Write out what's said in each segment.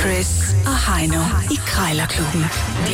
Chris og Heino i Krejlerklubben. De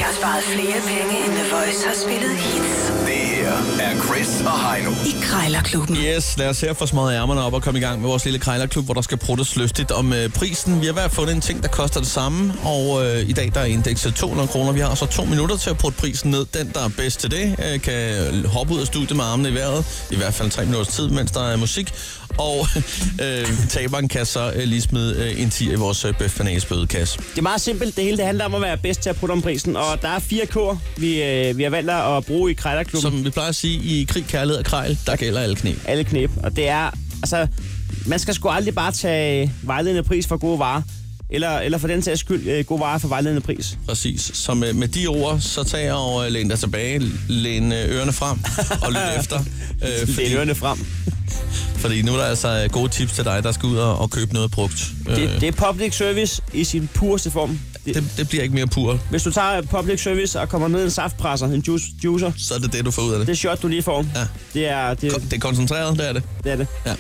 har sparet flere penge, end The Voice har spillet hits Det her er Chris og Heino. i Krejlerklubben. Yes, lad os her få smadret ærmerne op og komme i gang med vores lille krejlerklub, hvor der skal pruttes løftigt om øh, prisen. Vi har hver fundet en ting, der koster det samme, og øh, i dag der er indekset 200 kroner. Vi har så to minutter til at prutte prisen ned. Den, der er bedst til det, øh, kan hoppe ud af studiet med armene i vejret, i hvert fald tre minutters tid, mens der er musik. Og øh, taberen kan så øh, lige smide øh, en 10 i vores øh, bøf bødekasse. Det er meget simpelt. Det hele det handler om at være bedst til at putte om prisen. Og der er fire kår, vi, øh, vi har valgt at bruge i Krejlerklubben. Som vi plejer at sige, i krig, kærlighed og krejl, der gælder alle knæ. Alle knep. Og det er, altså, man skal sgu aldrig bare tage øh, vejledende pris for gode varer. Eller, eller for den sags skyld, øh, gode varer for vejledende pris. Øh, Præcis. Så med, med de ord, så tag og øh, læn dig tilbage, læn øh, ørerne frem og lyt efter. Øh, Det fordi, er ørerne frem. fordi nu er der altså øh, gode tips til dig, der skal ud og, og købe noget brugt. Øh, Det, det, det er public service i sin pureste form. Det, det, det bliver ikke mere pur, hvis du tager public service og kommer ned i en saftpresser, en juice, juicer, så er det det, du får ud af det. det er shot, du lige får. Ja. Det er det, Ko- Det er koncentreret, det er det. det, er det. Ja.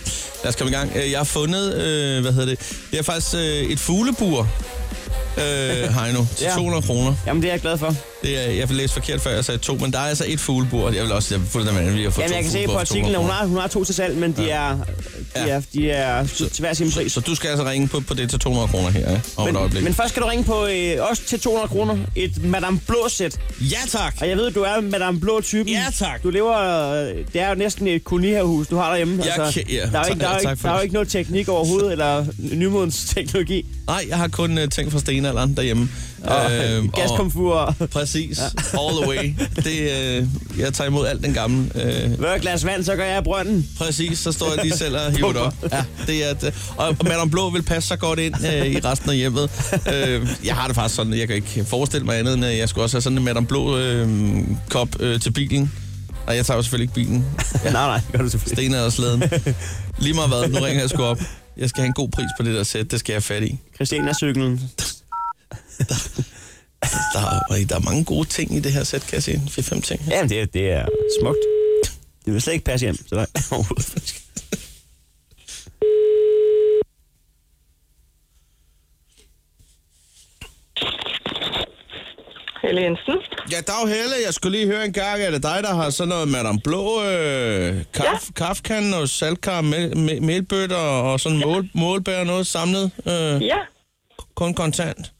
Lad os komme i gang. Øh, Jeg har fundet, øh, hvad hedder det? Det er faktisk øh, et fuglebur, øh, Heino, til Ja. 200 kroner. Jamen, det er jeg glad for. Det er, jeg læste forkert før, jeg sagde to, men der er altså et fuglebur. Jeg vil også, jeg vil fuldstændig vanvittig at få Jamen, to jeg kan se på fuglebure for 200 artiklen, at hun kroner. har, hun har to til salg, men de er, de Ja. er, de er til hver sin pris. Så du skal altså ringe på, på det til 200 kroner her, ja? Om men, et Men, øjeblik. men Men... først skal du ringe på øh, os til 200 kroner. Et Madame Blå-sæt. Ja tak! Og jeg ved, du er Madame Blå-typen. Ja, tak. Du lever... øh, Det er jo næsten et kolonihavehus, du har derhjemme. Altså, Jeg kan- ja, der er jo tak- ikke, der er ja, jo tak ikke, for der er jo det. ikke noget teknik overhovedet, eller nymodens teknologi. Nej, jeg har kun uh, ting fra stenalderen derhjemme. Og øh, Øhm, og, gaskomfur. Præcis. All the way. Det, uh, jeg tager imod alt den gamle. Uh, Hver glas vand, så gør jeg i brønden. præcis, så står jeg lige selv og hiver det op. Ja, det er, det. Og Madame Blå vil passe så godt ind uh, i resten af hjemmet. Uh, jeg har det faktisk sådan, jeg kan ikke forestille mig andet, end at jeg skulle også have sådan en Madame Blå-kop uh, uh, til bilen. Og jeg tager jo selvfølgelig ikke bilen. Ja. nej, nej, det gør du selvfølgelig. Sten er slæden. Lige meget hvad, nu ringer jeg sgu op. Jeg skal have en god pris på det der sæt, det skal jeg have fat i. Christiania-cyklen. Der er, der er mange gode ting i det her sæt, kan jeg se. 4-5 ting. Jamen, det, er- det er smukt. Det vil slet ikke passe hjem til dig overhovedet. Helle Jensen. Ja, Dag Helle, jeg skulle lige høre en gang, er det dig, der har sådan noget Madame Blå, øh, kaf, ja. kaffekanden og saltkar, mel, mel, melbøtter og sådan ja. mål, målbær og noget samlet? Øh, Ja. kun kontant?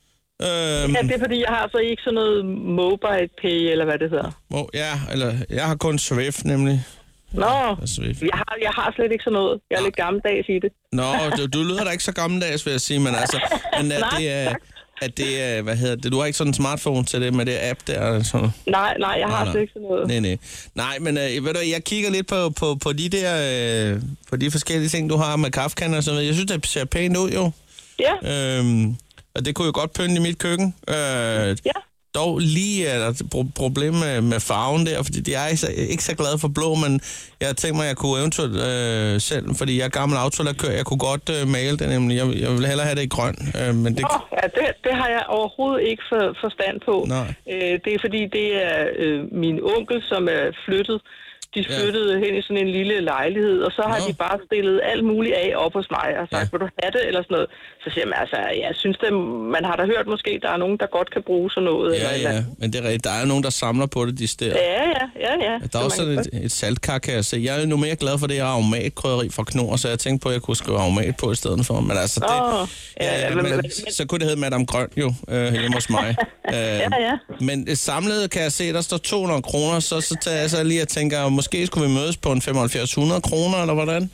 Øhm, ja, det er fordi, jeg har så ikke sådan noget mobile pay, eller hvad det hedder. hvor- ja, eller jeg har kun Swift nemlig. Nå, Swift. jeg har, jeg har slet ikke sådan noget. Jeg er lidt gammeldags i det. Nå, du, du lyder da ikke så gammeldags, vil jeg sige, men altså, men at Nej, det er, tak. at det er, hvad hedder det, du har ikke sådan en smartphone til det med det app der, og sådan. Nej, nej, jeg har nej. slet ikke sådan noget. Nej, nej. Nej, men øh, ved du, jeg kigger lidt på, på, på de der, øh, på de forskellige ting, du har med kaffekander og sådan noget. Jeg synes, det ser pænt ud jo. Ja, Øhm, og det kunne jo godt pynte i mit køkken. Øh, ja. dog lige er der et pro- problem med, med farven der, fordi jeg er ikke så, ikke så glad for blå, men jeg tænkte mig, at jeg kunne eventuelt øh, selv, fordi jeg er gammel autolakør, jeg kunne godt øh, male det nemlig. Jeg, jeg ville hellere have det i grøn, øh, men det... Åh, ja det, det har jeg overhovedet ikke for, forstand på. Nej. Øh, det er fordi, det er øh, min onkel, som er flyttet. De Ja. flyttede hen i sådan en lille lejlighed, og så har Nå. Nå. de bare stillet alt muligt af op hos mig og sagt, Ja. ja. vil du have det, eller sådan noget. Så siger man, altså, jeg synes, det, man har da hørt måske, der er nogen, der godt kan bruge sådan noget. eller, et Ja, eller ja, andet. men det er rigtigt. Der er jo nogen, der samler på det, de steder. Ja, ja, ja, ja. Der er Så også man sådan kan et, et saltkar, kan jeg se. Jeg er nu mere glad for det her aromatkrydderi fra Knor, så jeg tænkte på, at jeg kunne skrive aromat på i stedet for. Men altså, det, Åh, ja, ja, men- men, men- så kunne det hedde Madame Grøn jo, øh, hjemme hos mig. øh, ja, ja. Men øh, samlet kan jeg se, der står 200 kroner, så, så tager jeg så lige og tænker, måske skulle vi mødes på en 7500 kroner, eller hvordan?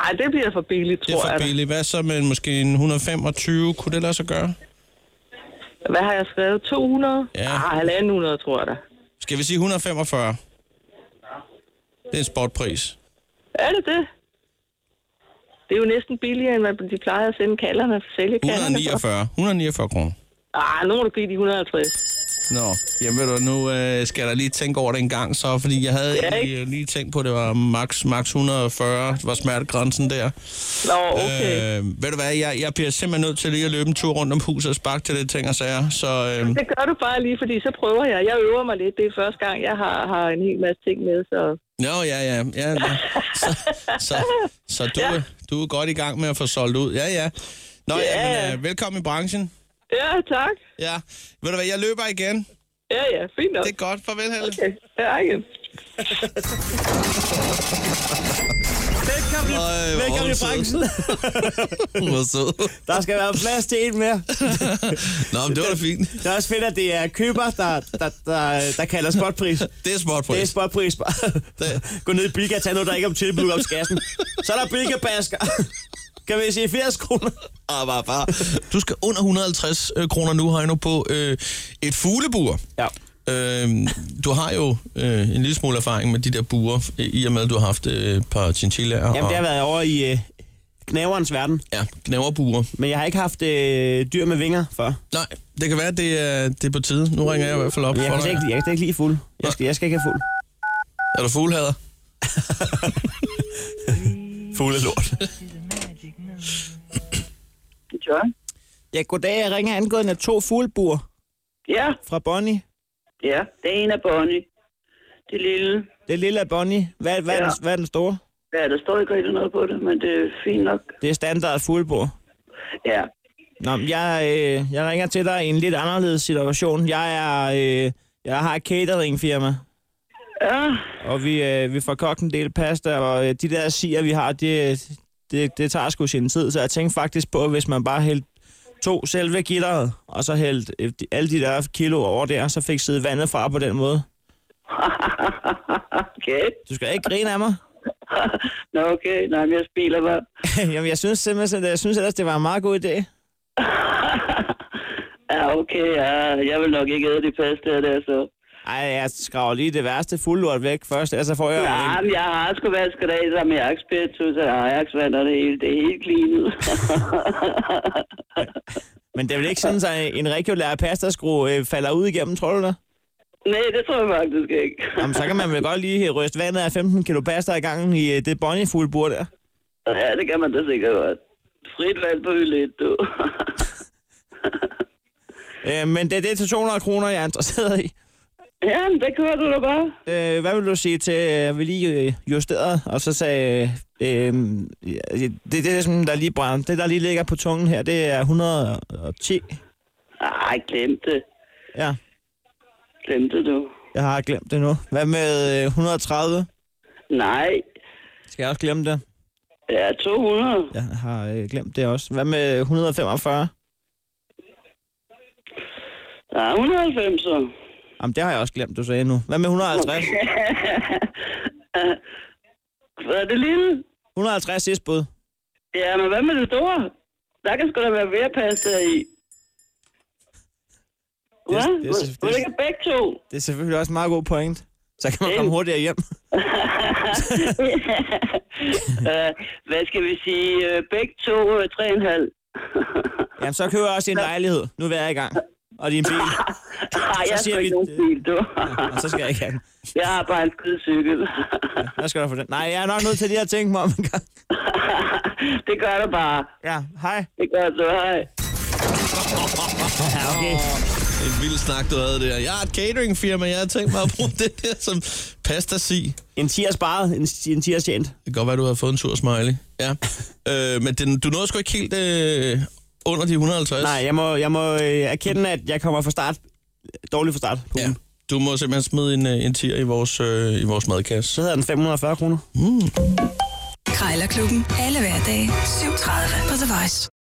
Nej, det bliver for billigt, Det er tror jeg. for billigt. Hvad så med måske en 125? Kunne det lade sig gøre? Hvad har jeg skrevet? 200? Ja. Ah, 100, tror jeg da. Skal vi sige 145? Det er en sportpris. Er det det? Det er jo næsten billigere, end hvad de plejer at sende kalderne for sælge kalderne. 149. 149 kroner. Ah, nu må du give de 150. Nå, jamen ved du, nu øh, skal jeg da lige tænke over det en gang så, fordi jeg havde Ja, ja, lige, lige tænkt på, at det var max, max 140, var smertegrænsen der. Nå, okay. Øh... Øh, ved du hvad, jeg, jeg bliver simpelthen nødt til lige at løbe en tur rundt om huset og sparke til det ting og sager, så øh, Det gør du bare lige, fordi så prøver jeg. Jeg øver mig lidt. Det er første gang, jeg har, har en hel masse ting med, så... Nå, ja, ja, ja, ja. Så, så, så du, ja. du er godt i gang med at få solgt ud. Ja, ja. Nå, ja. Ja. Jamen, øh, velkommen i branchen. Ja, tak. Ja. Ved du hvad, jeg løber igen. Ja, ja, fint nok. Det er godt. Farvel, Helle. Okay. Okay, ja, igen. Velkommen, Øj, Øj, hvor velkommen i sød. branchen. Hvor sød. Der skal være plads til en mere. Nå, men det var da fint. Det er også fedt, at det er køber, der, der, der, der kalder spotpris. Det er spotpris. Det er spotpris. Bare Gå ned i Bilka og tag noget, der ikke er om tilbud om skassen. Så er der Bilka-basker. Kan vi sige 80 kroner? Ah, bare, bare. Du skal under 150 øh, kroner nu, Heino, på øh, et fuglebur. Ja. Øh, du har jo øh, en lille smule erfaring med de der buer, øh, i og med, at du har haft øh, et par chinchillaer Jamen, det har været over i øh, knæverens verden. ja, gnaverbuer. Men jeg har ikke haft øh, dyr med vinger før. Nej, det kan være, at det er, det er på tide. Nu ringer jeg i hvert fald op Men jeg for kan, slet dig. ikke, jeg kan slet ikke lide fuld. Jeg skal, jeg skal ikke have fuld. Er du fuglehader? Fuld er lort. John? Ja, goddag. Jeg ringer angående to fuglbuer Ja, fra Bonnie. ja. Det ene er Bonnie. Det lille. Det lille er Bonnie. Hvad, hvad, ja. er den, Ja. hvad er den store? Ja, der står ikke rigtig noget på det, men det er fint nok. Det er standard fuglbord. Ja, Nå, men jeg, øh, jeg ringer til dig i en lidt anderledes situation. Jeg er, øh, jeg har et cateringfirma, ja. og vi, øh, vi får kogt en del pasta, og øh, de der siger, vi har, det, det, det tager sgu sin tid. Så jeg tænkte faktisk på, hvis man bare hældte to selve gitteret, og så hældte øh, de- alle de der kilo over der, så fik siddet vandet fra på den måde. okay. Du skal ikke grine af mig. Nå, okay. Nej, men jeg spiller bare. Jamen, jeg synes simpelthen, jeg synes ellers, det var en meget god idé. Ja, okay. Ja. Jeg vil nok ikke æde det pasta der, så. Ej, jeg skraver lige det værste fuldlort væk først, ellers så får jeg... Ja, men jeg har sgu vasket af sammen med Ajax-spiritus og Ajax-vand, og det hele, det er helt clean ud. Men det er vel ikke sådan, at en regulær pastaskrue øh, falder ud igennem, tror du det? Nej, det tror jeg faktisk ikke. Jamen, så kan man vel godt lige ryste vandet af 15 kilo pasta i gangen i øh, det bonnie bur der. Ja, det kan man da sikkert godt. Frit valg på hylde et, du. Øh, men det, det er til 200 kroner, jeg er interesseret i. ja, men det kører du da bare. Øh, hvad vil du sige til, at vi lige øh, justerede, og så sagde... Øh, ja, det, det, er sådan, der lige brænder. Det, der lige ligger på tungen her, det er 110. Ej, glem det. Ja, Glem det, du. jeg har glemt det nu. Hvad med øh, 130? Nej. Skal jeg også glemme det? Ja, 200. Jeg har øh, glemt det også. Hvad med 145? Ja, 190. så. Jamen, det har jeg også glemt, du sagde nu. Hvad med 150? Hvad er det lille? 150 sidste bud. Ja, men hvad med det store? Der kan sgu da være mere pasta i. Det er- det Hvad? er- det er- Hvor ligger begge to? Det er selvfølgelig også en meget god point. Så kan man Det- komme hurtigere hjem. Øh, Hvad skal vi sige? Øh, Begge to, øh, tre og en halv. Jamen, så køber jeg også din lejlighed. Nu er jeg i gang. Og din bil. Ej, jeg har siger sgu vi- ikke nogen bil, du. Og så skal jeg ikke have den. Jeg har bare en skydecykel. Hvad skal du få den? Nej, jeg er nok nødt til lige at tænke mig om en gang. det gør du bare. Ja, hej. Det gør du, hej. Ja, okay. En vild snak, du havde der. Jeg har et cateringfirma, jeg har tænkt mig at bruge det der som pastasi. En tier sparet, en, en tier tjent. Det kan godt være, du har fået en sur smiley. Ja. øh, men den, du nåede sgu ikke helt øh, under de 150. Nej, jeg må, jeg må øh, erkende, at jeg kommer fra start. Dårligt fra start. Ja. Ja. Du må simpelthen smide en, øh, en tier i vores, øh, i vores Så madkasse. hedder den 540 kroner. Krejlerklubben. Alle hverdage. 7.30 på The Voice.